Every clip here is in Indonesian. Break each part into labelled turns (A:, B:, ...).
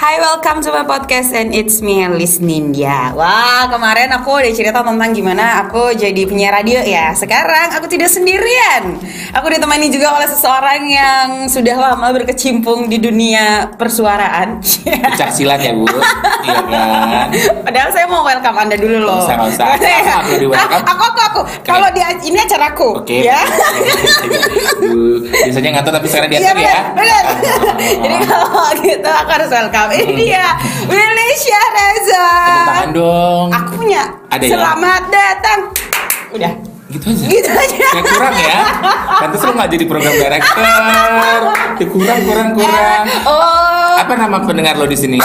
A: Hi, welcome to my podcast and it's me Liz Nindya. Wah, kemarin aku udah cerita tentang gimana aku jadi penyiar radio ya. Sekarang aku tidak sendirian. Aku ditemani juga oleh seseorang yang sudah lama berkecimpung di dunia persuaraan.
B: Pecah silat ya bu Iya kan
A: Padahal saya mau welcome Anda dulu loh.
B: usah, nggak usah. Aku di welcome.
A: Ah, Aku aku aku. Kalau di ini acaraku.
B: Oke
A: Ya.
B: Bu, Biasanya ngantuk tapi sekarang
A: Iya,
B: diatur ya
A: benar, benar. Jadi kalau gitu aku harus welcome. Ini dia Willy Syahreza.
B: Tepuk Tangan dong
A: ah, Aku punya.
B: Ada ya?
A: Selamat datang. Udah.
B: Gitu aja
A: Gitu aja.
B: Kayak kurang ya Pantes lo gak jadi program director Ya kurang kurang kurang
A: Eh, Oh.
B: Apa nama pendengar lo di sini?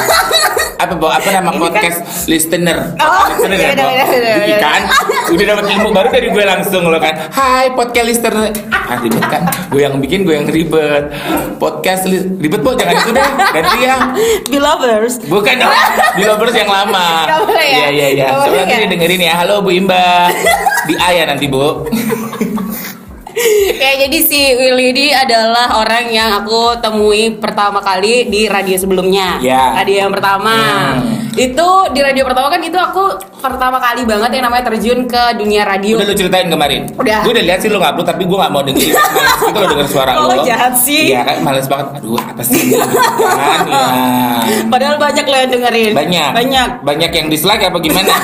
B: Apa Bo? apa nama
A: Ini kan-
B: podcast listener?
A: Oh,
B: listener
A: iya,
B: ya, Bo?
A: iya, iya,
B: Jadi
A: iya.
B: kan udah dapat ilmu baru dari gue langsung lo kan. Hai podcast listener. Ah ribet kan? Gue yang bikin, gue yang ribet. Podcast li- ribet Bo, jangan itu deh. Ganti ya. yang
A: Belovers.
B: Bukan dong, di lovers yang lama.
A: Nggak boleh ya?
B: Iya iya iya.
A: Nggak boleh
B: Soalnya nanti
A: ya?
B: dia dengerin ya. Halo Bu Imba. Di A ya nanti Bu.
A: Ya jadi si Willy ini adalah orang yang aku temui pertama kali di radio sebelumnya.
B: Ya.
A: Radio yang pertama.
B: Hmm.
A: Itu di radio pertama kan itu aku pertama kali banget yang namanya terjun ke dunia radio.
B: Udah lu ceritain kemarin.
A: Udah.
B: Gue udah lihat sih lu ngupload tapi gue gak mau dengerin. Males gitu lo denger suara
A: Lo
B: lu.
A: jahat sih.
B: Iya kan males banget. Aduh apa sih? Jangan ya.
A: Padahal banyak loh yang dengerin.
B: Banyak.
A: Banyak.
B: Banyak yang dislike apa gimana?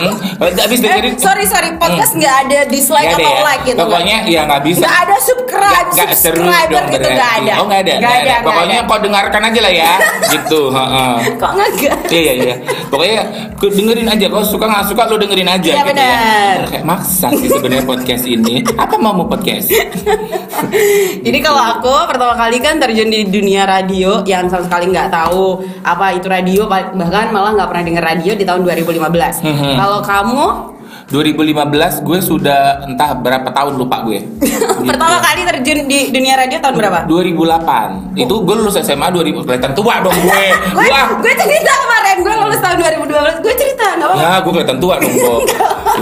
B: hmm? Abis dengerin.
A: Eh,
B: Hmm.
A: sorry sorry podcast nggak ada dislike
B: Nggak ada
A: atau
B: ya.
A: like gitu.
B: Pokoknya ya nggak bisa.
A: nggak ada subscribe,
B: Nggak- nggak seru
A: subscriber
B: dong
A: gitu nggak
B: berarti.
A: ada.
B: Oh nggak ada.
A: Nggak
B: nggak
A: ada. nggak
B: Pokoknya
A: ada.
B: kau dengarkan aja lah ya. gitu. heeh.
A: kok nggak?
B: Iya iya iya. Pokoknya ke- dengerin aja kalau suka nggak suka lo dengerin aja
A: Iya,
B: gitu
A: benar.
B: ya. Kayak maksa sih sebenarnya podcast ini. Apa mau mau podcast?
A: Jadi kalau aku pertama kali kan terjun di dunia radio yang sama sekali nggak tahu apa itu radio bahkan malah nggak pernah denger radio di tahun 2015.
B: Mhm.
A: Kalau kamu
B: 2015 gue sudah entah berapa tahun lupa gue.
A: pertama kali terjun di dunia radio tahun berapa?
B: 2008 itu gue lulus SMA 2000 kelihatan tua dong gue
A: Gue
B: Wah.
A: gue cerita kemarin gue lulus tahun 2012 gue cerita nggak apa-apa.
B: Ya, gue kelihatan tua dong, Bob.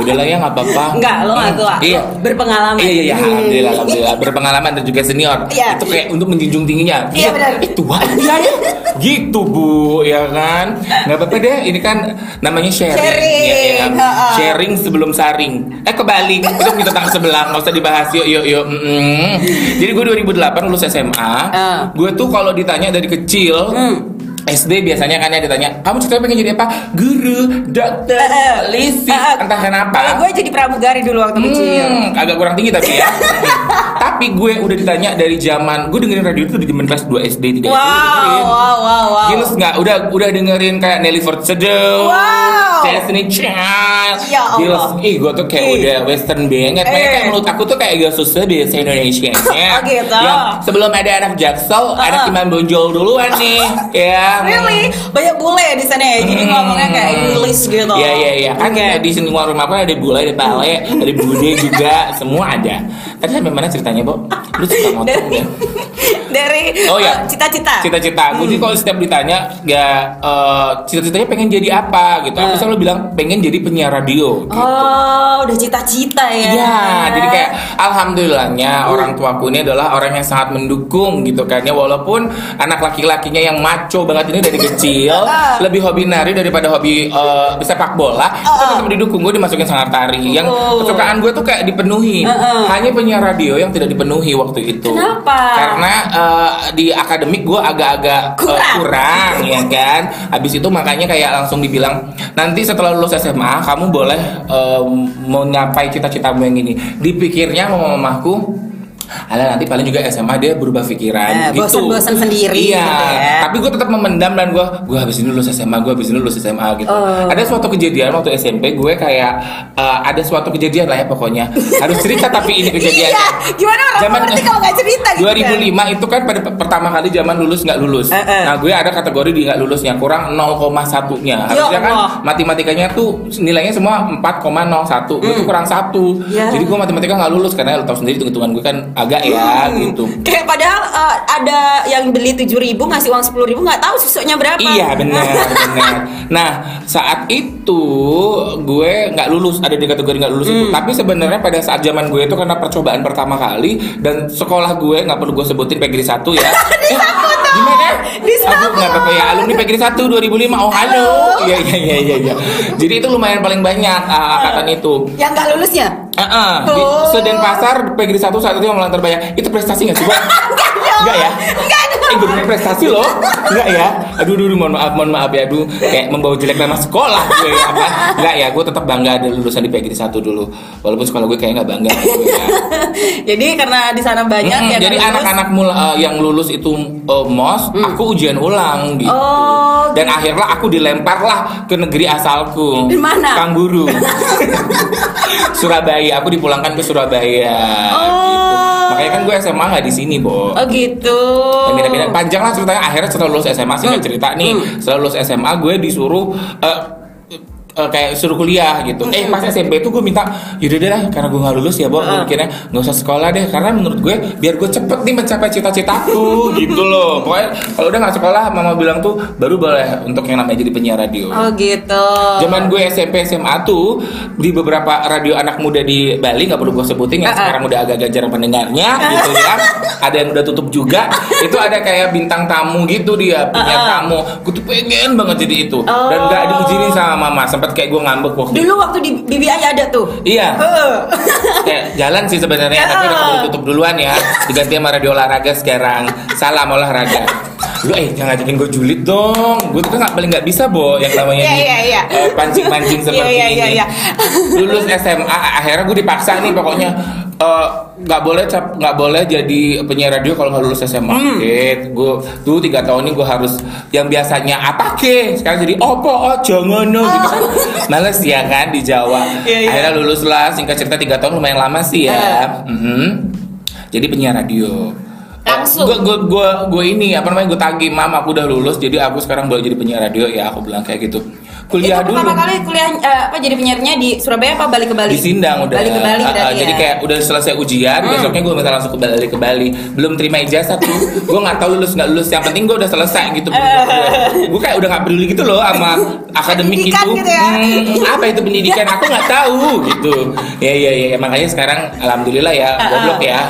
B: Udah lah ya, nggak apa-apa.
A: Enggak, lo nggak tua.
B: Iya.
A: Lo berpengalaman.
B: Iya, iya, iya,
A: Hmm.
B: alhamdulillah, alhamdulillah. Berpengalaman dan juga senior.
A: Iya.
B: Itu kayak untuk menjunjung tingginya.
A: Iya, benar.
B: Eh, tua dia ya. Gitu, Bu, ya kan? Nggak apa-apa deh, ini kan namanya sharing.
A: Sharing,
B: Iya, iya kan?
A: ha-ha.
B: Sharing sebelum saring. Eh, kebalik. Itu kita tentang sebelah, nggak usah dibahas. Yuk, yuk, yuk. Mm-mm.
A: Hmm.
B: Jadi gue 2008 lulus SMA.
A: Eh.
B: Gue tuh kalau ditanya dari kecil,
A: Hmm.
B: SD biasanya kan ya ditanya, kamu ceritanya pengen jadi apa? Guru, dokter,
A: Eh,
B: polisi,
A: eh,
B: entah kenapa.
A: Kalau gue jadi pramugari dulu waktu kecil.
B: Hmm, agak kurang tinggi tapi ya. tapi gue udah ditanya dari zaman gue dengerin radio itu dari zaman kelas 2 SD
A: Wow,
B: 3 SD.
A: wow, wow, wow.
B: Gilus gitu, nggak? Udah udah dengerin kayak Nelly Furtado,
A: Wow.
B: Destiny Child,
A: Ya Allah.
B: Gilus, ih gue tuh kayak
A: Ih.
B: udah western banget. Mereka
A: Eh.
B: menurut aku tuh kayak gak susah bahasa Indonesia Ya,
A: Oh, gitu.
B: sebelum ada anak Jaksel, anak
A: Ah.
B: Iman Bonjol duluan nih. ya.
A: Really? Banyak bule ya di sana ya. Jadi ngomongnya kayak English gitu.
B: Hmm. Iya iya iya kan
A: Oke.
B: di lingkungan rumah aku ada bule, ada pale, ada bude juga, semua ada. Tadi sampai mana ceritanya, Bo? Lu suka motong
A: dari
B: ya?
A: dari
B: Oh,
A: eh,
B: ya.
A: cita-cita.
B: Cita-cita aku sih kalau setiap ditanya ya eh, cita-citanya pengen jadi apa gitu. Aku
A: Hmm.
B: selalu bilang pengen jadi penyiar radio. gitu.
A: Oh, udah cita-cita ya. Hmm.
B: Iya, jadi kayak alhamdulillahnya orang tuaku ini adalah orang yang sangat mendukung gitu kan ya walaupun anak laki-lakinya yang maco banget ini dari kecil
A: Ah.
B: lebih hobi nari daripada hobi eh, sepak bola,
A: Uh-uh.
B: itu tetap didukung gue dimasukin sangat tari. Yang
A: Oh.
B: kesukaan gue tuh kayak dipenuhi.
A: Ah, ah.
B: Hanya penyiar radio yang tidak dipenuhi waktu itu.
A: Kenapa?
B: Karena eh, di akademik gue agak-agak eh,
A: Kurang.
B: kurang ya kan. Habis itu makanya kayak langsung dibilang nanti setelah lulus SMA kamu boleh eh, mencapai cita-citamu yang ini. Dipikirnya sama mamahku Alah nanti paling juga SMA dia berubah
A: Eh,
B: pikiran gitu.
A: bosen-bosen sendiri
B: Iya.
A: gitu ya.
B: Tapi gue tetap memendam dan gue gue habis ini lulus SMA, gue habis ini lulus SMA gitu.
A: Oh.
B: Ada suatu kejadian waktu SMP gue kayak eh, ada suatu kejadian lah ya pokoknya. Harus cerita tapi ini kejadiannya.
A: Iya, gimana orang
B: Zaman-
A: ngerti kalau nggak cerita gitu. kan?
B: 2005 itu kan pada pe- pertama kali zaman lulus nggak lulus.
A: Eh, eh.
B: Nah, gue ada kategori di nggak lulusnya kurang 0,1-nya. Harusnya kan
A: Ya Allah.
B: matematikanya tuh nilainya semua 4,01. Gue tuh kurang satu.
A: Hmm. Ya.
B: Jadi gue matematika nggak lulus karena lo tau sendiri hitungan gue kan agak ya
A: Hmm.
B: gitu.
A: Kayak padahal eh, ada yang beli 7.000 ngasih uang 10.000 nggak tahu sisanya berapa.
B: Iya benar benar. Nah saat itu gue nggak lulus ada di kategori nggak lulus itu. Tapi sebenarnya pada saat zaman gue itu karena percobaan pertama kali dan sekolah gue nggak perlu gue sebutin PGRI satu ya. eh, gimana?
A: Di
B: Aku nggak apa-apa ya alumni PGRI 1 2005 oh halo iya iya iya iya iya. jadi itu lumayan paling banyak ah, angkatan itu
A: Yang nggak lulusnya?
B: Heeh, di
A: Oh.
B: Sedenpasar PGRI 1 saat itu yang melanggar terbanyak. Itu prestasi nggak sih, Mbak?
A: Iya.
B: Enggak ya?
A: Enggak
B: Eh, bener prestasi loh. Enggak ya? Aduh, aduh, aduh, mohon maaf, mohon maaf ya. Aduh, kayak membawa jelek nama sekolah gue ya, apa? Enggak ya, gue tetap bangga ada lulusan di PGRI 1 dulu. Walaupun sekolah gue kayak nggak bangga gue ya.
A: Jadi karena di sana banyak
B: Mm-mm,
A: yang
B: Hmm,
A: nggak ya,
B: jadi
A: lulus. Hmm.
B: anak-anak mula- eh, yang lulus itu eh, mos, aku ujian ulang gitu.
A: Oh,
B: Dan akhirnya aku dilemparlah ke negeri asalku.
A: Di mana?
B: Kangguru. Surabaya. Aku dipulangkan ke Surabaya. Gitu.
A: Oh.
B: Makanya kan gue SMA nggak di sini, Bo.
A: Oh gitu.
B: Pindah-pindah. Panjang lah ceritanya. Akhirnya setelah lulus SMA sih
A: Hmm.
B: cerita nih. Setelah lulus SMA gue disuruh eh, eh, kayak suruh kuliah gitu. Eh
A: Hmm.
B: pas SMP itu gue minta yaudah deh lah, karena gue nggak lulus ya, Bo. Gue
A: Ah.
B: mikirnya nggak usah sekolah deh karena menurut gue biar gue cepet nih mencapai cita-citaku gitu loh. Pokoknya kalau udah nggak sekolah mama bilang tuh baru boleh untuk yang namanya jadi penyiar radio.
A: Oh gitu.
B: Zaman gue SMP SMA tuh di beberapa radio anak muda di Bali nggak perlu gue sebutin yang
A: Ah, ah.
B: sekarang udah agak-agak jarang pendengarnya gitu ya. Ada yang udah tutup juga. itu ada kayak bintang tamu gitu dia punya tamu. Gue tuh pengen banget jadi itu dan nggak diizinin sama mama. Sempat kayak gue ngambek waktu. itu.
A: Dulu waktu di BBI ada tuh.
B: Iya,
A: Heeh.
B: kayak jalan sih sebenarnya, tapi udah keburu tutup duluan ya. Diganti sama radio olahraga sekarang. Salam olahraga. Lu eh jangan ngajakin gue julid dong. Gue tuh nggak paling nggak bisa bo yang namanya
A: Iya,
B: di-
A: iya, iya.
B: eh, pancing-pancing seperti
A: Iya, iya,
B: ini
A: iya,
B: lulus SMA akhirnya gue dipaksa nih pokoknya eh, nggak boleh cap- nggak boleh jadi penyiar radio kalau nggak lulus SMA
A: Hmm.
B: gitu gue tuh tiga tahun ini gue harus yang biasanya apa ke sekarang jadi opo oh jangan no," gitu kan males ya kan di Jawa
A: Ah. Iya, iya.
B: akhirnya lulus lah singkat cerita tiga tahun lumayan lama sih ya Mhm. jadi penyiar radio
A: Langsung.
B: gue gue gue ini apa namanya gue tagih mam aku udah lulus jadi aku sekarang boleh jadi penyiar radio ya aku bilang kayak gitu
A: Itu
B: kuliah dulu
A: pertama kali kuliah eh, apa jadi penyiarnya di Surabaya apa balik ke Bali?
B: di Sindang udah.
A: Balik ke Bali
B: Ah, ah,
A: berarti
B: Jadi
A: ya? Hmm.
B: kayak udah selesai ujian, besoknya gue minta langsung ke Bali ke Bali. Belum terima ijazah tuh. gue nggak tahu lulus nggak lulus. Yang penting gue udah selesai gitu. gue kayak udah nggak peduli gitu loh sama akademik
A: Pendidikan
B: itu.
A: gitu ya.
B: apa itu pendidikan? Aku nggak tahu gitu. Ya ya ya. Makanya sekarang alhamdulillah ya
A: Ah,
B: goblok ya.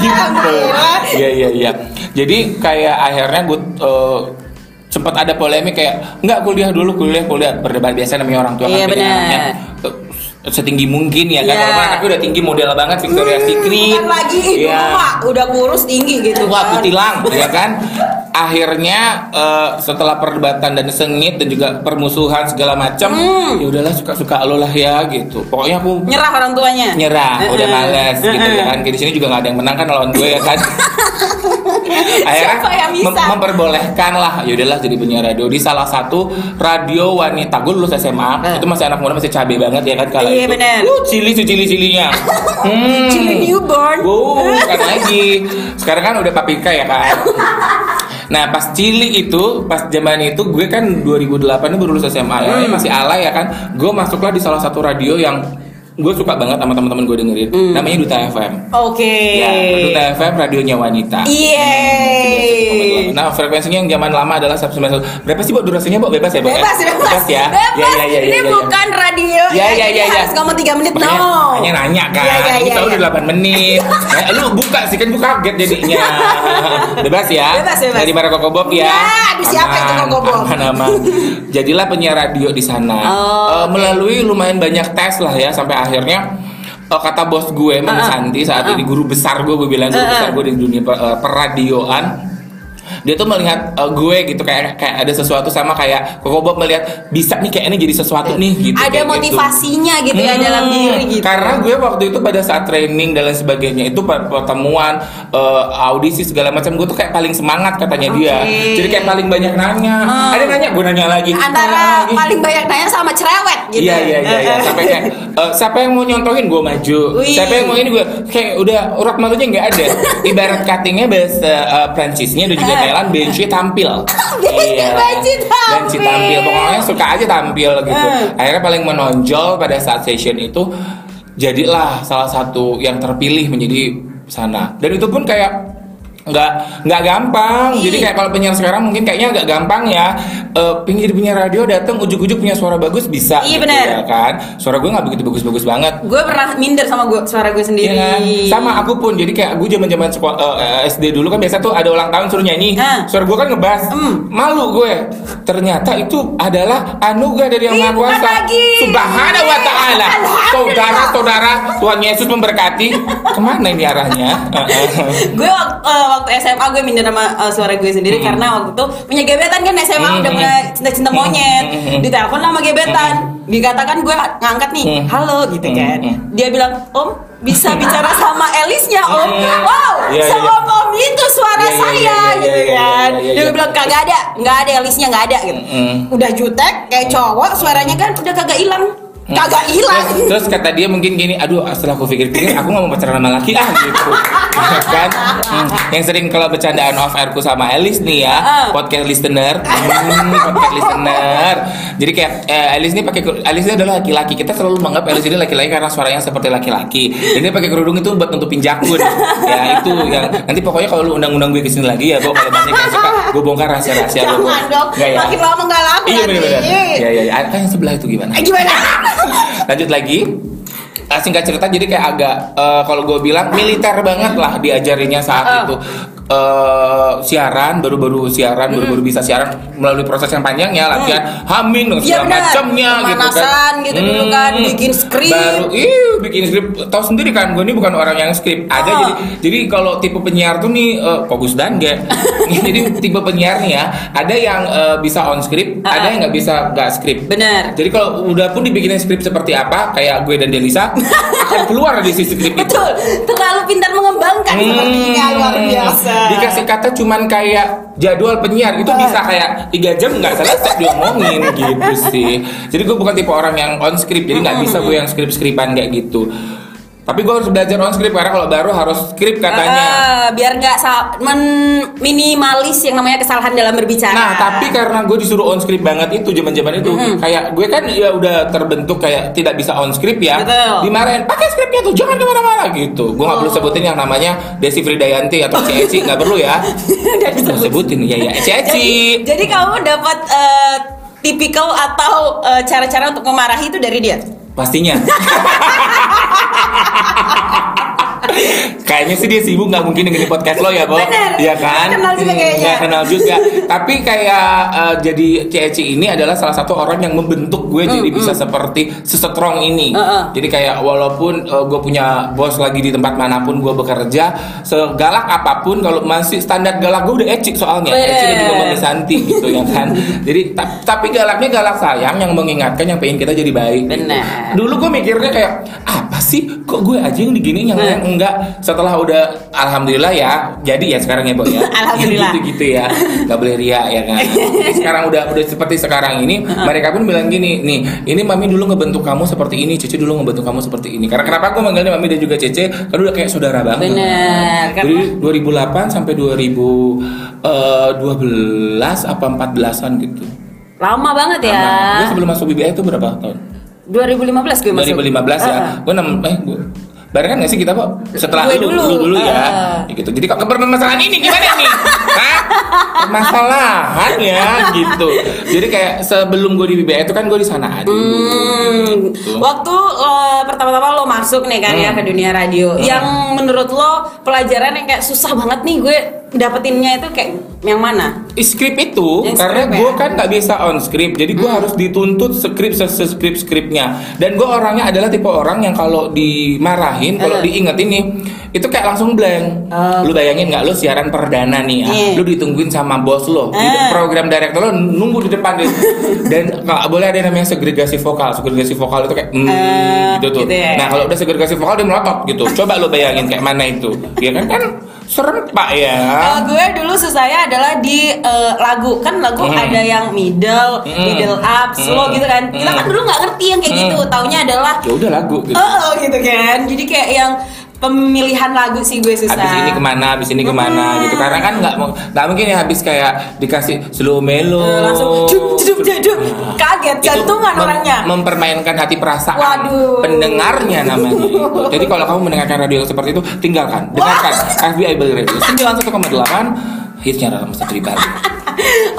B: gitu.
A: Alhamdulillah.
B: Iya iya iya. Jadi kayak akhirnya gue eh, sempat ada polemik kayak nggak kuliah dulu kuliah kuliah berdebat biasa namanya orang tua
A: Iya,
B: pengen
A: benar.
B: anaknya, eh, setinggi mungkin ya
A: Iya.
B: kan
A: Hmm,
B: Walaupun anaknya udah tinggi model banget Victoria Secret
A: Bukan lagi itu
B: Iya.
A: Wak. udah kurus tinggi gitu
B: Wah,
A: kan.
B: kutilang, ya kan? Akhirnya eh, setelah perdebatan dan sengit dan juga permusuhan segala macam,
A: Hmm.
B: ya udahlah suka-suka lo lah ya gitu. Pokoknya aku
A: Nyerah orang tuanya.
B: nyerah udah
A: Heeh.
B: males gitu
A: Heeh.
B: ya kan di sini juga nggak ada yang menang kan lawan gue ya kan akhirnya
A: Siapa yang bisa?
B: mem- memperbolehkan lah yaudahlah jadi penyiar radio di salah satu radio wanita gue lulus SMA
A: Eh.
B: itu masih anak muda masih cabe banget ya kan kalau
A: Iya,
B: itu
A: bener.
B: Uh, cili si cili cilinya hmm.
A: Cili newborn.
B: Wow, bukan lagi sekarang kan udah paprika ya kan Nah pas Cili itu pas zaman itu gue kan 2008 itu baru lulus SMA ya
A: Hmm.
B: ini masih alay ya kan gue masuklah di salah satu radio yang gue suka banget sama teman-teman gue dengerin namanya Duta FM
A: Hmm. Oke.
B: ya Duta FM radionya
A: Iya.
B: wanita Iya,
A: Yeay.
B: Nah frekuensinya yang zaman lama adalah 191 Berapa sih buat durasinya buat bebas ya Bo?
A: Bebas,
B: Eh,
A: bebas,
B: ya
A: Bebas.
B: Ya, ya, ya,
A: Ini
B: ya, ya.
A: bukan radio.
B: Ya, ya,
A: jadi
B: ya, ya.
A: Harus ngomong 3 menit.
B: Makanya-
A: no.
B: makanya nanya kan
A: Ya, ya,
B: Ini
A: ya,
B: selalu
A: ya.
B: udah 8 menit Nah, Lu buka sih kan gue kaget jadinya Bebas ya
A: Bebas, bebas.
B: Dari para Koko Bob ya
A: Ya, aduh, siapa itu Koko Bob?
B: aman, aman. Jadilah penyiar radio di sana
A: Oh,
B: Eh, Melalui lumayan banyak tes lah ya Sampai akhirnya eh, kata bos gue, Mang Santi saat ini guru besar gue, gue bilang guru besar gue di dunia per- eh, peradioan dia tuh melihat eh, gue gitu kayak kayak ada sesuatu sama kayak Koko Bob melihat bisa nih kayaknya jadi sesuatu nih gitu
A: Ada
B: kayak gitu.
A: motivasinya gitu, ya
B: Hmm,
A: dalam diri gitu.
B: Karena gue waktu itu pada saat training dan lain sebagainya itu per- pertemuan eh, audisi segala macam gue tuh kayak paling semangat katanya dia.
A: Oke. Hmm.
B: Jadi kayak paling banyak nanya. Ada yang nanya gue nanya lagi.
A: antara
B: Nanya lagi.
A: paling banyak nanya sama cerewet gitu.
B: Iya iya iya iya. sampai kayak eh, siapa yang mau nyontohin gue maju,
A: Wih.
B: siapa yang mau ini gue kayak udah urat malunya nggak ada. Ibarat cuttingnya bahasa eh, Prancisnya dan juga Thailand benci tampil.
A: Benci- benci tampil.
B: Benci tampil. Pokoknya suka aja tampil gitu.
A: Eh.
B: Akhirnya paling menonjol pada saat session itu jadilah salah satu yang terpilih menjadi sana. Dan itu pun kayak nggak nggak gampang jadi kayak kalau penyiar sekarang mungkin kayaknya agak gampang ya pinggir penyiar radio datang ujuk-ujuk punya suara bagus bisa
A: Iya,
B: gitu
A: bener.
B: ya kan suara gue nggak begitu bagus-bagus banget
A: Gue pernah minder sama gua, suara gue sendiri.
B: Iya kan? Sama aku pun. Jadi kayak gue zaman-zaman sekolah SD dulu kan biasa tuh ada ulang tahun suruh nyanyi.
A: Ah.
B: Suara gue kan ngebas.
A: Hmm.
B: Malu gue. Ternyata itu adalah anugerah dari yang Maha
A: Ih,
B: Kuasa.
A: Iya, bukan lagi.
B: Subhanahu wa taala.
A: Alhamdulillah.
B: Saudara-saudara Tuhan Yesus memberkati. Kemana ini arahnya?
A: gue wak- eh, waktu SMA gue minder sama eh, suara gue sendiri
B: Hmm.
A: karena waktu itu punya gebetan kan SMA udah
B: Hmm.
A: mulai cinta-cinta
B: Hmm.
A: monyet
B: Hmm.
A: ditelepon sama gebetan dikatakan gue ngangkat nih
B: Hmm.
A: halo gitu
B: Hmm.
A: kan
B: Hmm.
A: dia bilang om bisa bicara sama Elisnya om
B: Hmm.
A: wow
B: Iya, iya,
A: seom om itu suara
B: Iya, iya,
A: saya
B: iya, iya,
A: gitu
B: iya,
A: kan
B: iya, iya,
A: dia
B: iya.
A: bilang kagak ada nggak ada Elisnya nggak ada gitu
B: Hmm.
A: udah jutek kayak cowok suaranya kan udah kagak hilang
B: Hmm.
A: kagak hilang
B: Terus, terus kata dia mungkin gini, aduh setelah aku pikir-pikir aku gak mau pacaran sama laki ah gitu. Ya kan? Hmm. Yang sering kalau bercandaan off airku sama Elis nih ya,
A: Heeh.
B: podcast listener, Hmm, podcast listener. Jadi kayak eh, Elis ini pakai keru- Elis ini adalah laki-laki. Kita selalu menganggap Elis ini laki-laki karena suaranya seperti laki-laki. Dan dia pakai kerudung itu buat nutupin jakun. ya itu yang nanti pokoknya kalau lu undang-undang gue kesini lagi ya, gue kalau banyak yang suka gue bongkar rahasia-rahasia lu.
A: jangan dong
B: Nggak ya?
A: makin lama nggak laku
B: Iya
A: nanti
B: benar-benar. Iya iya. iya. Kan yang sebelah itu gimana?
A: Eh, gimana
B: lanjut lagi Ah, singkat cerita jadi kayak agak eh, kalau gue bilang militer banget lah diajarinnya saat
A: Heeh.
B: itu Eh, siaran baru-baru siaran baru-baru bisa siaran melalui proses yang panjang ya latihan haming dan
A: Mm. Iya,
B: segala
A: bener.
B: macamnya gitu
A: Pemanasan
B: kan
A: gitu dulu kan, bikin skrip.
B: baru ih bikin skrip tahu sendiri kan gue ini bukan orang yang skrip ada
A: Oh.
B: jadi jadi kalau tipe penyiar tuh nih eh, fokus dan gak jadi tipe penyiar nih ya ada yang eh, bisa on script ada
A: Heeh.
B: yang nggak bisa nggak script
A: Benar.
B: jadi kalau udah pun dibikinin skrip seperti apa, kayak gue dan Delisa akan keluar dari sisi skrip itu.
A: Betul. Terlalu pintar mengembangkan sepertinya ah, luar
B: Hmm,
A: biasa.
B: Dikasih kata cuman kayak jadwal penyiar itu bisa kayak tiga jam nggak selesai diomongin gitu sih. Jadi gue bukan tipe orang yang on script, jadi nggak bisa
A: Hmm.
B: gue yang skrip skripan kayak gitu. Tapi gue harus belajar on script karena kalau baru harus skrip katanya.
A: Eh, biar nggak sa- men- minimalis yang namanya kesalahan dalam berbicara.
B: Nah, tapi karena gue disuruh on script banget itu zaman-zaman itu, kayak gue kan ya udah terbentuk kayak tidak bisa on script ya.
A: Betul. Oh.
B: Dimarahin, pakai scriptnya tuh, jangan kemana-mana gitu. Gue nggak perlu sebutin yang namanya Desi Fridayanti atau Ceci, nggak perlu ya. Nggak sebutin, ya ya
A: jadi,
B: Ceci.
A: jadi kamu dapat eh, tipikal atau eh, cara-cara untuk memarahi itu dari dia.
B: Pastinya. Kayaknya sih dia sibuk nggak mungkin dengerin podcast lo ya, Bo.
A: Bener.
B: Iya kan?
A: Nggak kenal juga
B: Hmm,
A: kayaknya.
B: nggak kenal juga. Tapi kayak eh, jadi Ceci ini adalah salah satu orang yang membentuk gue jadi
A: Mm,
B: bisa seperti sesetrong ini.
A: Uh-uh.
B: Jadi kayak walaupun eh, gue punya bos lagi di tempat manapun gue bekerja, segalak apapun kalau masih standar galak gue udah ecik soalnya.
A: Bener.
B: Ecik dan juga Mami Santi gitu ya kan. Jadi ta- tapi galaknya galak sayang yang mengingatkan yang pengen kita jadi baik. gitu.
A: Bener.
B: Dulu gue mikirnya kayak apa sih kok gue aja yang diginiin yang lain enggak. Setelah udah alhamdulillah ya. Jadi ya sekarang ya Bo ya.
A: Alhamdulillah.
B: Gitu-gitu ya. Gak boleh ria ya kan. sekarang udah udah seperti sekarang ini mereka pun bilang gini, nih, ini mami dulu ngebentuk kamu seperti ini, Cece dulu ngebentuk kamu seperti ini. Karena kenapa gue manggilnya mami dan juga Cece? Karena udah kayak saudara banget.
A: Bener, kan,
B: Dari 2008 sampai 2012 apa 14-an gitu.
A: Lama banget ya.
B: Nah, gue sebelum masuk BBI itu berapa tahun?
A: 2015 gue masuk. Ah,
B: 2015 ya. Gue enam eh gue barengan gak sih kita kok setelah
A: Gue
B: lu
A: dulu.
B: dulu, dulu, ya.
A: Ah.
B: Ya gitu. Jadi kok permasalahan ini gimana nih? Hah? Permasalahan ya gitu. Jadi kayak sebelum gue di BBI itu kan gue di sana aja.
A: Hmm, waktu eh, pertama-tama lo masuk nih kan ya
B: Hmm.
A: ke dunia radio, yang menurut lo pelajaran yang kayak susah banget nih gue dapetinnya itu kayak yang mana?
B: Skrip itu
A: Yang
B: karena
A: skrip
B: gue
A: ya. Hmm.
B: kan nggak bisa on script, jadi gue harus dituntut skrip seskrip skripnya. Dan gue orangnya adalah tipe orang yang kalau dimarahin,
A: Eh.
B: kalau diingetin nih, itu kayak langsung blank.
A: Oh.
B: Lu bayangin nggak lu siaran perdana nih ya,
A: Iya.
B: lu ditungguin sama bos lo, di
A: Eh.
B: program director lo nunggu di depan deh. Dan nggak boleh ada yang namanya segregasi vokal, segregasi vokal itu kayak mm,
A: Eh,
B: gitu tuh.
A: gitu ya.
B: Nah kalau udah segregasi vokal dia melotot gitu. Coba lu bayangin kayak mana itu, ya kan kan serem pak ya.
A: Kalau Eh, gue dulu susahnya adalah di eh, lagu kan lagu
B: Hmm.
A: ada yang middle,
B: Hmm.
A: middle up, slow
B: Hmm.
A: gitu kan. Kita kan
B: Hmm.
A: dulu nggak ngerti yang kayak gitu, taunya adalah
B: Ya udah lagu. Gitu.
A: oh gitu kan. Jadi kayak yang pemilihan lagu sih gue susah.
B: habis ini kemana habis ini kemana gitu karena kan nggak mau nggak mungkin ya habis kayak dikasih slow melo
A: Eh, langsung jum, jum, jum, jum. kaget
B: Hmm. Itu
A: jantungan
B: mem-
A: orangnya.
B: mempermainkan hati perasaan
A: Waduh.
B: pendengarnya namanya itu. jadi kalau kamu mendengarkan radio yang seperti itu tinggalkan dengarkan FBI Bell Radio 91,8 hitsnya dalam satu di Bali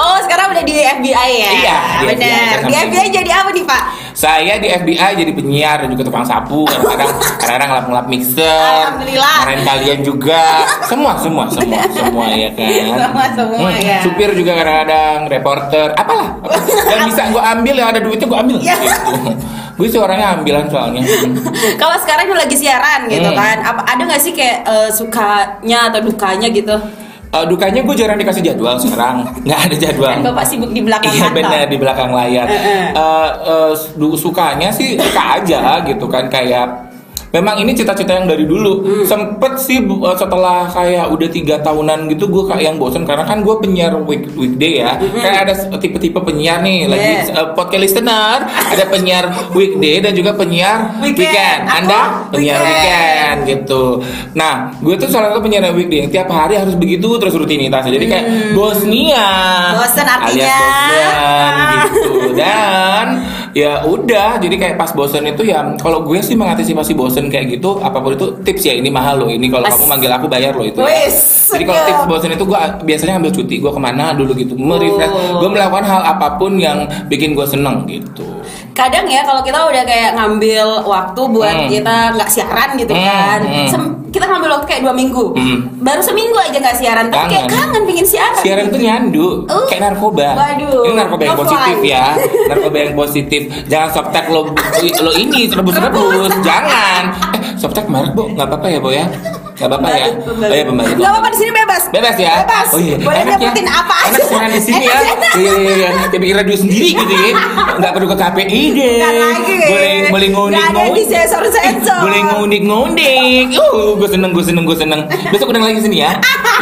A: Oh sekarang udah di FBI ya?
B: Iya, di
A: benar.
B: FBI.
A: Di FBI jadi apa nih Pak?
B: saya di FBI jadi penyiar dan juga tukang sapu kadang-kadang kadang-kadang ngelap-ngelap mixer
A: Alhamdulillah.
B: keren kalian juga semua semua semua semua ya kan
A: Semua, semua, ya.
B: supir juga kadang-kadang reporter apalah yang bisa gue ambil yang ada duitnya gue ambil
A: Ya.
B: gitu gue sih orangnya ambilan soalnya
A: Kalau sekarang lu lagi siaran gitu
B: Hmm.
A: kan, apa ada nggak sih kayak eh, sukanya atau dukanya gitu?
B: Eh, dukanya gue jarang dikasih jadwal sekarang nggak ada jadwal
A: Kan bapak sibuk di belakang
B: Ah. Iya
A: kantor.
B: benar di belakang layar. Eh eh, du- sukanya sih suka aja gitu kan kayak memang ini cita-cita yang dari dulu.
A: Hmm.
B: Sempet sih bu- eh, setelah kayak udah tiga tahunan gitu gue kayak yang bosen karena kan gue penyiar week- weekday ya.
A: Hmm.
B: Kayak ada se- tipe-tipe penyiar nih lagi
A: Yeah.
B: eh, podcast listener, ada penyiar weekday dan juga penyiar
A: Weekend.
B: weekend. Anda
A: Aku
B: penyiar
A: weekend.
B: weekend gitu. Nah, gue tuh salah satu penyiar weekday yang tiap hari harus begitu terus rutinitas. Jadi kayak Bosnia.
A: Hmm. Bosen
B: Alias
A: artinya.
B: bosen
A: Ah.
B: gitu. Dan ya udah, jadi kayak pas bosen itu ya kalau gue sih mengantisipasi bosen kayak gitu apapun itu tips ya ini mahal loh. Ini kalau
A: Mas.
B: kamu manggil aku bayar loh itu. ya.
A: Wis,
B: Jadi kalau
A: senyum.
B: tips bosen itu gue biasanya ambil cuti, gue kemana dulu gitu, merefresh.
A: Oh.
B: Gue melakukan hal apapun yang bikin gue seneng gitu.
A: Kadang ya kalau kita udah kayak ngambil waktu buat
B: Hmm.
A: kita nggak siaran gitu
B: Hmm,
A: kan,
B: hmm.
A: Sem- kita ngambil waktu kayak dua minggu,
B: Hmm.
A: baru seminggu aja nggak siaran, tapi kayak
B: Kangen.
A: kangen pingin siaran.
B: Siaran ya? itu nyandu,
A: Uh,
B: kayak narkoba.
A: waduh,
B: ini narkoba yang
A: no
B: positif
A: fly.
B: ya, narkoba yang positif. Jangan softtek lo lo ini rebus-rebus, jangan. Eh, softtek merek bu, nggak apa-apa ya bu ya, nggak apa-apa ya.
A: Pembalut,
B: Oh ya pembalut.
A: Nggak apa-apa di sini bebas.
B: Bebas ya?
A: Bebas.
B: Oh iya.
A: Boleh
B: Enak ya?
A: dapetin apa aja.
B: Enak siaran di sini ya.
A: Enak, enak.
B: Iya iya iya. Dia bikin radio sendiri gitu ya. Enggak perlu ke KPI deh.
A: Nggak lagi.
B: Boleh boleh
A: Nggak ada yang
B: ngunik-ngunik.
A: disensor-sensor.
B: Boleh ngunik-ngunik. Uh, gue seneng gue seneng gue seneng. Besok udah lagi sini ya.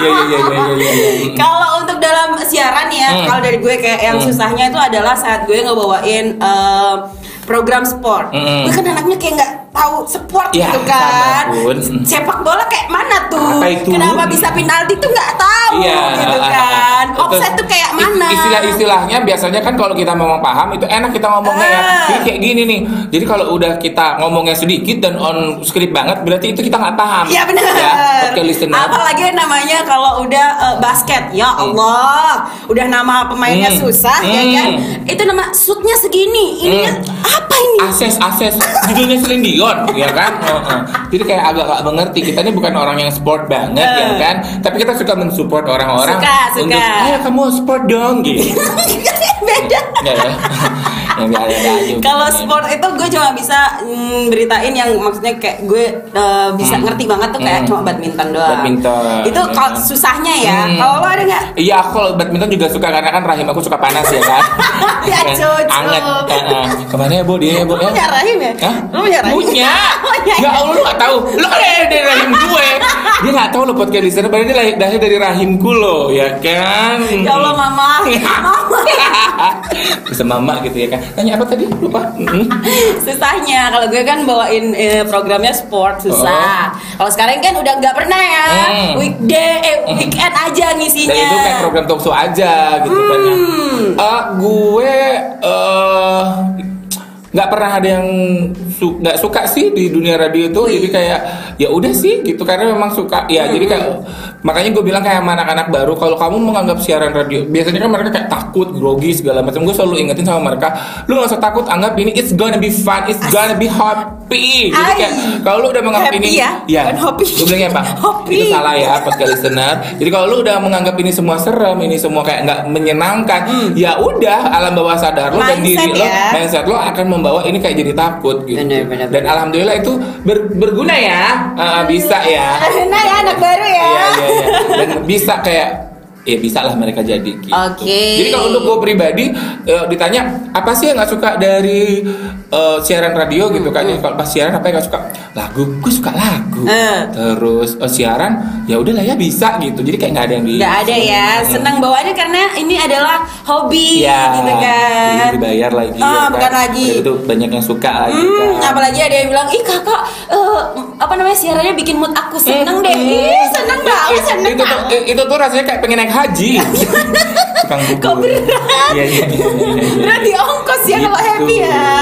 B: Iya iya iya iya iya, iya.
A: Kalau untuk dalam siaran ya,
B: Hmm.
A: kalau dari gue kayak yang
B: Hmm.
A: susahnya itu adalah saat gue ngebawain eh, program sport.
B: Hmm.
A: Gue kan anaknya kayak nggak tahu sport
B: Ya,
A: gitu kan.
B: sama pun.
A: Sepak bola kayak mana tuh?
B: Apa itu?
A: Kenapa bisa penalti tuh nggak tahu
B: Iya.
A: gitu kan. Offside tuh kayak mana?
B: Istilah-istilahnya biasanya kan kalau kita memang paham itu enak kita ngomongnya ya.
A: Ah.
B: Jadi kayak gini nih. Jadi kalau udah kita ngomongnya sedikit dan on script banget berarti itu kita nggak paham.
A: Iya benar.
B: Ya, oke listener.
A: Apalagi yang namanya kalau udah eh, basket, ya Allah, udah nama pemainnya
B: Hmm.
A: susah ya
B: Hmm.
A: kan. Itu nama shootnya segini, ininya apa ini?
B: Akses, akses, judulnya Celine Dion, ya kan? Heeh. Jadi kayak agak gak mengerti. Kita ini bukan orang yang sport banget, ya
A: Eh.
B: kan? Tapi kita suka mensupport orang-orang
A: Suka, suka.
B: untuk, ayo kamu sport dong, gitu.
A: Beda.
B: Enggak ya? Ya, biar ada aja.
A: Kalau sport itu gue cuma bisa mm, beritain yang maksudnya kayak gue eh, bisa
B: Hmm.
A: ngerti banget tuh kayak
B: Hmm.
A: cuma badminton doang.
B: Badminton,
A: Itu
B: ya
A: kalau
B: kan.
A: susahnya ya.
B: Hmm.
A: Kalau lo ada nggak?
B: Iya, aku kalau badminton juga suka karena kan rahim aku suka panas ya kan.
A: Ya, cucu.
B: Anget. Heeh. Kemana ya, Bu? Dia ya, Bu
A: Lo
B: ya?
A: punya rahim ya?
B: Hah?
A: Lo punya rahim? Oh, iya,
B: Punya.
A: Punya.
B: Ya Allah lu gak tahu. Lu kan dari, dari rahim gue. Dia gak tahu lo podcast listener padahal dia lahir dari, dari rahimku loh, ya kan?
A: Ya Allah mama. Mama.
B: Bisa mama gitu ya kan. Tanya apa tadi? Lupa. Mm-mm.
A: susahnya kalau gue kan bawain eh, programnya sport susah kalau sekarang kan udah nggak pernah ya
B: Oh. Hmm.
A: weekday eh, weekend aja ngisinya
B: Dan itu kayak program talk show aja gitu kan. ya.
A: Hmm.
B: Eh, gue eh, nggak pernah ada yang su- nggak suka sih di dunia radio itu jadi kayak ya udah sih gitu karena memang suka ya jadi
A: Hmm.
B: kayak makanya gue bilang kayak sama anak-anak baru kalau kamu menganggap siaran radio biasanya kan mereka kayak takut grogi segala macam gue selalu ingetin sama mereka lu nggak usah takut anggap ini it's gonna be fun it's gonna be happy jadi kayak
A: Ay.
B: kalau lu udah menganggap
A: Happy
B: ini
A: ya, bukan hopi.
B: gue bilang ya pak
A: Hopi.
B: itu salah ya podcast listener. Jadi kalau lu udah menganggap ini semua serem, ini semua kayak nggak menyenangkan, ya udah alam bawah sadar lu dan
A: Hmm. Mindset
B: diri lo,
A: ya.
B: mindset lo akan membawa ini kayak jadi takut gitu.
A: Bener, bener,
B: Dan alhamdulillah itu ber- berguna ya, Eh, bisa ya.
A: nah ya anak baru ya,
B: Iya iya iya. Dan bisa kayak ya bisa lah mereka jadi gitu.
A: Oke.
B: Jadi kalau untuk gue pribadi eh, ditanya apa sih yang nggak suka dari eh, siaran radio gitu kan? Ya, Kalau pas siaran apa yang nggak suka? Lagu, gue suka lagu.
A: Hmm. Eh.
B: Terus eh, siaran ya udahlah ya bisa gitu. Jadi kayak nggak ada yang di.
A: nggak ada ya senang bawaannya karena ini adalah hobi
B: Hmm. Iya.
A: gitu
B: jadi
A: kan
B: dibayar lagi. gitu
A: Ah, bukan lagi.
B: Itu gitu, banyak yang suka lagi.
A: Hmm,
B: kan.
A: apalagi ada yang bilang ih kakak eh, apa namanya siarannya bikin mood aku seneng deh.
B: Mm-mm.
A: Ih, seneng banget, seneng
B: Hmm. itu tuh
A: banget.
B: itu tuh rasanya kayak gitu. pengen naik haji tukang bubur
A: Kok berat?
B: iya iya iya, iya, iya.
A: Berarti ongkos ya kalau
B: Gitu. Iya.
A: happy ya.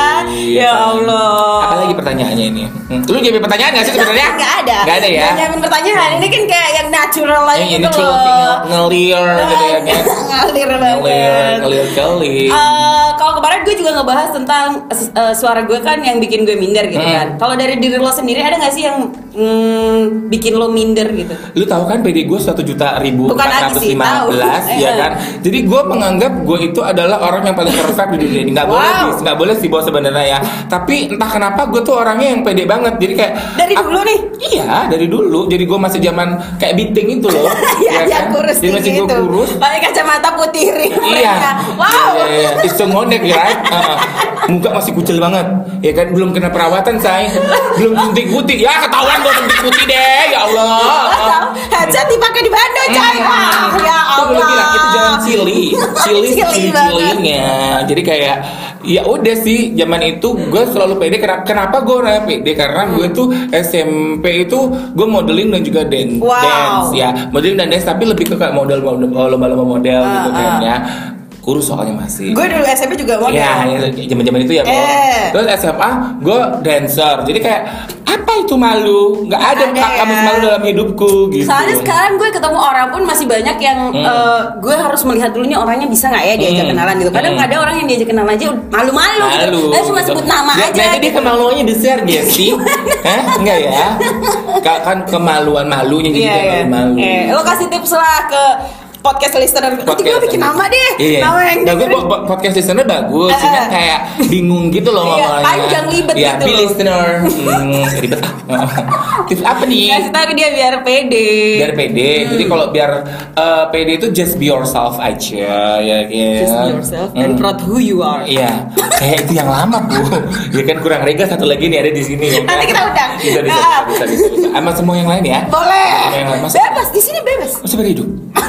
A: Ya Allah.
B: apalagi pertanyaannya ini Hmm, lu jadi pertanyaan gak sih sebenarnya
A: Nggak ada.
B: Nggak ada ya
A: Nyamin pertanyaan ini kan kayak yang natural aja
B: yang ini
A: gitu
B: tuh
A: loh. Nah,
B: ngelir gitu ya kayak
A: Ngalir
B: ngelir
A: banget.
B: ngelir kali
A: Eh, kalau kemarin gue juga ngebahas tentang eh, suara gue kan yang bikin gue minder gitu
B: Hmm.
A: kan. Kalau dari diri lo sendiri ada nggak sih yang mm, bikin lo minder gitu?
B: lu tahu kan PD gue satu juta ribu
A: Bukan lagi sih, tahu. Eh.
B: ya kan jadi gue menganggap gue itu adalah orang yang paling perfect di dunia ini nggak
A: Wow.
B: boleh sih nggak boleh sih bos sebenarnya ya tapi entah kenapa gue tuh orangnya yang pede banget jadi kayak
A: Dari
B: aku-
A: dulu nih?
B: iya dari dulu jadi gue masih zaman kayak biting itu loh Iya
A: ya, ya, kurus
B: jadi kan? masih
A: tinggi
B: gue
A: itu.
B: kurus
A: Pakai kacamata putih ring
B: Iya.
A: mereka. Wow.
B: Iya, iya, iya. It's so ngondek, ya. right? Heeh. Muka masih kucel banget. Ya kan belum kena perawatan, say. Belum suntik putih. Ya ketahuan gua suntik putih deh. Ya Allah.
A: Atau headset dipakai di Bandung coy. Wah, ya
B: Itu Hmm. boleh
A: Allah.
B: Iya. bilang, itu jangan cili. Cili,
A: Cili
B: cili,
A: banget.
B: cilinya. Jadi kayak ya udah sih zaman itu gue selalu pede Kena- kenapa gue orangnya pede karena gue
A: Hmm.
B: tuh SMP itu gue modeling dan juga dan
A: Wow.
B: dance ya modeling dan dance tapi lebih ke kayak model model- oh, lomba-lomba model
A: Ah,
B: gitu kan
A: ah.
B: ya kurus soalnya masih
A: Gue dulu SMP juga model.
B: Ya, zaman-zaman itu ya, Bo.
A: Eh.
B: Terus SMA, gue dancer. Jadi kayak apa itu malu? Nggak ada,
A: Nggak ada
B: ka- kamus
A: ya.
B: malu dalam hidupku gitu.
A: Soalnya sekarang gue ketemu orang pun masih banyak yang eh, gue harus melihat dulunya orangnya bisa nggak ya diajak
B: Hmm.
A: kenalan gitu. Kadang
B: Hmm.
A: ada orang yang diajak kenalan aja udah malu-malu gitu.
B: malu.
A: Dia cuma sebut nama
B: Ya,
A: aja.
B: Nanti dia
A: gitu.
B: kemaluannya besar dia sih. Hah? Enggak ya? Ka- kan kemaluan malunya jadi
A: Iya,
B: kayak
A: iya.
B: gitu, malu.
A: Eh, lo kasih tips lah ke podcast listener. Nanti gue bikin nama deh.
B: Iya.
A: Nama yang
B: Nah, gue
A: dengerin.
B: po- po- podcast listener bagus,
A: Eh,
B: cuma
A: eh.
B: kayak bingung gitu loh
A: Iya,
B: ngomongnya.
A: panjang libet
B: ya,
A: gitu
B: be
A: loh.
B: listener. Hmm, ribet ah. Tips apa nih?
A: Kasih tahu ke dia biar pede.
B: Iya. biar pede
A: Hmm.
B: jadi kalau biar eh, pede itu just be yourself aja ya ya
A: Just be yourself and
B: Hmm.
A: proud who you are.
B: iya kayak itu yang lama bu ya kan kurang rega satu lagi nih ada di sini ya kan?
A: Nanti kita undang.
B: bisa bisa
A: Ah.
B: bisa bisa, bisa. sama semua yang lain ya
A: Boleh.
B: Yang lain, masa-
A: Bebas di sini bebas.
B: masih berhidup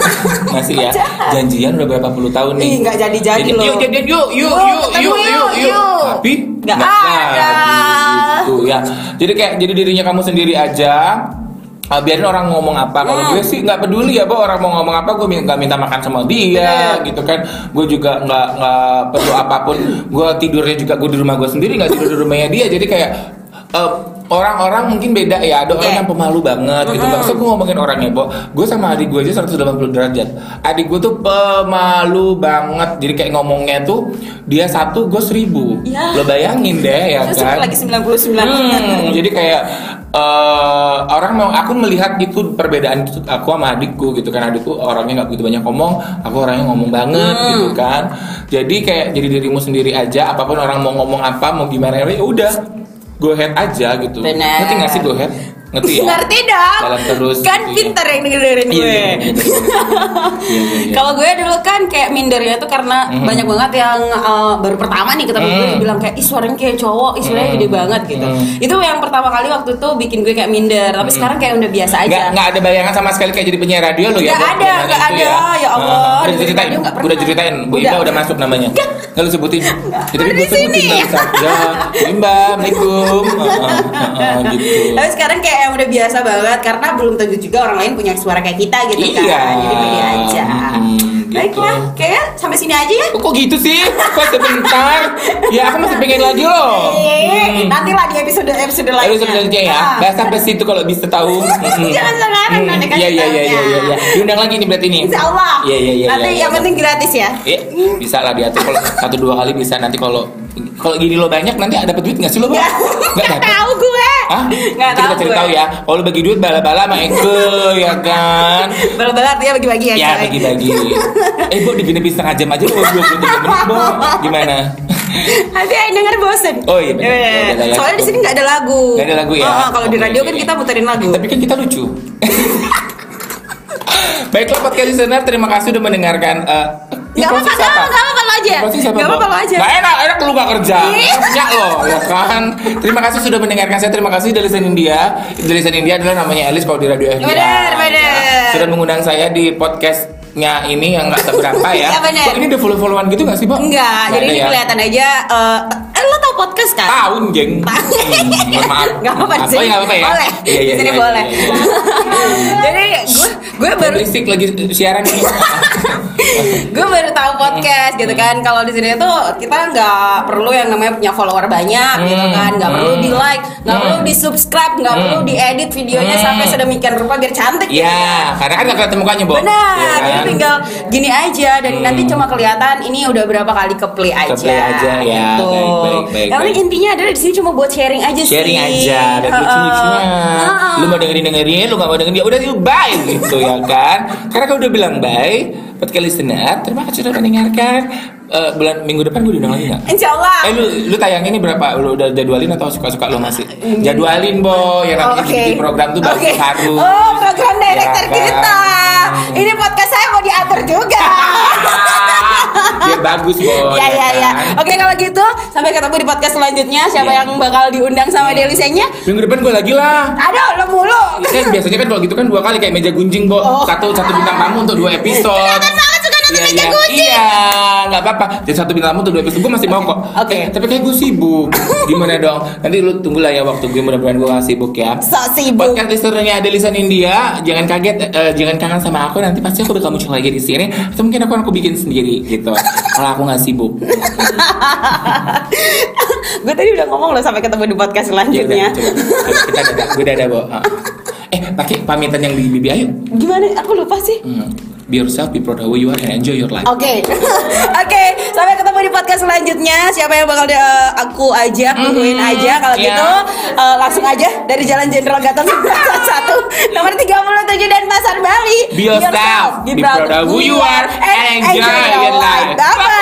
B: masih ya janjian udah berapa puluh tahun nih
A: Ih, nggak jadi-jadi
B: Jadi,
A: loh.
B: yuk yuk yuk yuk
A: Yuk,
B: yuk
A: ketemu
B: yuk yuk
A: yuk,
B: yuk
A: yuk.
B: tapi
A: Nggak ada.
B: jadi gitu ya jadi kayak jadi dirinya kamu sendiri aja Ah, biarin orang ngomong apa kalau
A: Hmm.
B: gue sih nggak peduli ya bahwa orang mau ngomong apa gue min- nggak minta makan sama dia
A: Bener.
B: gitu kan gue juga nggak nggak perlu apapun gue tidurnya juga gue di rumah gue sendiri nggak tidur di rumahnya dia jadi kayak eh, orang-orang mungkin beda ya ada orang
A: Iya.
B: yang pemalu banget gitu
A: Mm-mm.
B: maksud gue ngomongin orangnya bo gue sama adik gue aja 180 derajat adik gue tuh pemalu banget jadi kayak ngomongnya tuh dia satu gue seribu
A: Ya.
B: lo bayangin deh ya
A: Terus
B: kan
A: lagi 99
B: Hmm, jadi kayak eh, orang mau aku melihat itu perbedaan itu aku sama adikku gitu kan adikku orangnya nggak begitu banyak ngomong aku orangnya ngomong banget
A: Hmm.
B: gitu kan jadi kayak jadi dirimu sendiri aja apapun orang mau ngomong apa mau gimana ya udah go ahead aja gitu
A: Bener.
B: ngerti nggak sih go ahead ngerti ya
A: Ngerti dong.
B: Jalan terus,
A: Kan
B: gitu ya.
A: pinter yang dengerin gue.
B: Iya, iya, iya. Iya, iya, iya.
A: Kalau gue dulu kan kayak mindernya tuh karena
B: Mm-hmm.
A: banyak banget yang uh, baru pertama nih ketemu gue
B: Mm.
A: bilang kayak ih suaranya kayak cowok, ih suaranya
B: Mm.
A: gede banget gitu.
B: Mm.
A: Itu yang pertama kali waktu itu bikin gue kayak minder, tapi sekarang kayak udah biasa aja.
B: Mm-hmm. nggak nggak ada bayangan sama sekali kayak jadi penyiar radio lo ya
A: Nggak
B: Bob,
A: ada,
B: dengan
A: nggak
B: itu
A: ada, ya Allah,
B: Nah, udah
A: dengerin
B: ceritain
A: radio nggak pernah.
B: udah ceritain bu
A: Udah.
B: Imba udah masuk namanya nggak lu sebutin
A: Udah
B: jadi gue
A: di
B: sebutin
A: sini.
B: nggak usah ya Bu Imba assalamualaikum Heeh, heeh, gitu
A: Tapi sekarang kayak yang udah biasa banget karena belum tentu juga orang lain punya suara kayak kita gitu
B: Iya.
A: kan. Jadi pede aja.
B: Mm, gitu.
A: Baiklah, kayaknya sampai sini aja ya.
B: kok gitu sih kok sebentar ya aku masih pengen lagi loh Hmm.
A: Eh, Nanti lah di episode episode lainnya.
B: Lalu sebenarnya ya,
A: Ah.
B: bahas sampai situ kalau bisa tahu. Mm-mm.
A: Jangan sekarang,
B: Mm,
A: nanti kasih
B: Iya iya iya iya
A: taunya.
B: iya. Diundang lagi nih berarti nih.
A: Insya Allah.
B: Iya iya iya.
A: Nanti
B: iya,
A: yang
B: iya.
A: penting gratis ya.
B: Ya, bisa lah diatur kalau satu dua kali bisa nanti kalau kalau gini lo banyak nanti ada dapat duit nggak sih lo? Bang?
A: Nggak
B: Nggak
A: nggak
B: dapat.
A: tahu gue.
B: Hah?
A: Nggak
B: Nanti
A: tahu.
B: kita cari
A: gue.
B: tahu ya. Kalau lu bagi duit bala-bala sama Eke ya kan.
A: Bala-bala artinya bagi-bagi ya.
B: Ya
A: coy.
B: bagi-bagi. Eh, Bu dibini setengah jam aja lu baru 23 menit, Bu. Gimana?
A: Nanti yang denger bosen.
B: Oh, iya, bener.
A: Iya.
B: Ya udah, ya.
A: Soalnya di sini nggak ada lagu.
B: Nggak ada lagu ya?
A: Ah, kalau di
B: Oke,
A: radio
B: oke,
A: kan
B: oke.
A: kita muterin lagu.
B: Tapi kan kita lucu. Baiklah podcast listener, terima kasih udah mendengarkan eh
A: Gak
B: ini
A: apa-apa,
B: closing
A: gak
B: siapa?
A: apa-apa, gak apa-apa lo aja.
B: Closing siapa,
A: Gak Iya. apa-apa Iya.
B: Bob?
A: lo aja.
B: Nggak enak, enak lu gak kerja.
A: Ih.
B: Nyak lo, ya kan. Terima kasih sudah mendengarkan saya. Terima kasih dari Sen India. Dari Sen India adalah namanya Elis kalau di Radio FBA.
A: Bener, bener.
B: Sudah mengundang saya di podcast nya ini yang nggak seberapa ya.
A: Iya, bener.
B: Kok ini udah follow followan gitu nggak sih, Mbak?
A: Enggak, jadi
B: ada
A: ini
B: ya?
A: kelihatan aja eh, eh, lo tau podcast kan?
B: tahun, geng.
A: Tahun.
B: Hmm, mohon maaf.
A: Gak apa-apa di
B: Oh,
A: sini.
B: iya, nggak apa-apa ya.
A: Boleh.
B: Iya, iya,
A: Di sini
B: iya,
A: boleh.
B: iya, iya.
A: Jadi gue gue
B: Baru
A: baru
B: listrik lagi siaran ini.
A: gue baru tahu podcast gitu
B: Hmm.
A: kan. Kalau di sini tuh kita nggak perlu yang namanya punya follower banyak gitu
B: Hmm.
A: kan. Nggak perlu
B: Hmm.
A: di like, nggak
B: Hmm.
A: perlu di subscribe, nggak
B: Hmm.
A: perlu di edit videonya
B: Hmm.
A: sampai sedemikian rupa biar cantik. gitu
B: Iya,
A: kan.
B: karena kan nggak kelihatan mukanya, Bo.
A: Benar,
B: Iya kan?
A: jadi tinggal gini aja dan
B: Hmm.
A: nanti cuma kelihatan ini udah berapa kali keplay aja.
B: Keplay aja, ya.
A: Gitu.
B: Baik, baik, baik,
A: Yang penting
B: baik.
A: intinya adalah di sini cuma buat sharing aja sih.
B: sharing aja dan
A: Heeh.
B: lucu-lucunya
A: Heeh.
B: lu mau dengerin dengerin lu gak mau dengerin ya udah yuk bye gitu ya kan karena kau udah bilang bye podcast listener terima kasih sudah mendengarkan Eh, bulan minggu depan gue diundang lagi gak?
A: Insya Allah.
B: Eh lu, lu tayang ini berapa? Lu udah jadwalin atau suka-suka lu masih? Jadwalin boy, ya
A: Oh,
B: nanti
A: oke.
B: di program tuh baru
A: Oke.
B: harus.
A: Oh, program director
B: Ya kan? Iya.
A: kita. Ini podcast saya mau diatur juga.
B: Ya bagus boy.
A: Ya ya ya.
B: kan?
A: Oke kalau gitu sampai ketemu di podcast selanjutnya. Siapa
B: Ya.
A: yang bakal diundang sama Delisenya?
B: Minggu depan gue lagi lah.
A: Aduh, lo mulu.
B: Kan biasanya kan kalau gitu kan dua kali kayak meja gunjing, Bo.
A: Oh.
B: Satu satu bintang tamu untuk dua episode.
A: Kan banget suka nonton
B: Iya,
A: meja
B: iya.
A: kunci.
B: Iya, nggak apa-apa. Jadi satu bintang tamu tuh dua episode gue masih mau kok.
A: Oke.
B: Eh, tapi kayak gue sibuk. Gimana dong? Nanti lu tunggulah ya waktu gue mudah-mudahan gue nggak sibuk ya.
A: Sok sibuk.
B: Podcast listenernya ada lisan India, jangan kaget, eh, eh, jangan kangen sama aku. Nanti pasti aku bakal muncul lagi di sini. Atau mungkin aku aku bikin sendiri gitu. Kalau aku nggak sibuk.
A: gue tadi udah ngomong loh sampai ketemu di podcast
B: Ya udah,
A: selanjutnya.
B: coba. Coba Kita dadah, gue dadah bo. Ah. Eh, pakai pamitan yang di bibi ayo.
A: Gimana? Aku lupa sih.
B: Hmm. Be yourself, be proud of who you are, and enjoy your life.
A: Oke, oke. Sampai ketemu di podcast selanjutnya. Siapa yang bakal di- eh, aku ajak, tungguin
B: Mhm,
A: aja. Kalau
B: iya.
A: gitu eh, langsung aja dari Jalan Jenderal Gatot 1 nomor 37 dan Pasar Bali.
B: Be yourself, be proud of who you are, and enjoy your
A: Bye
B: life.
A: bye.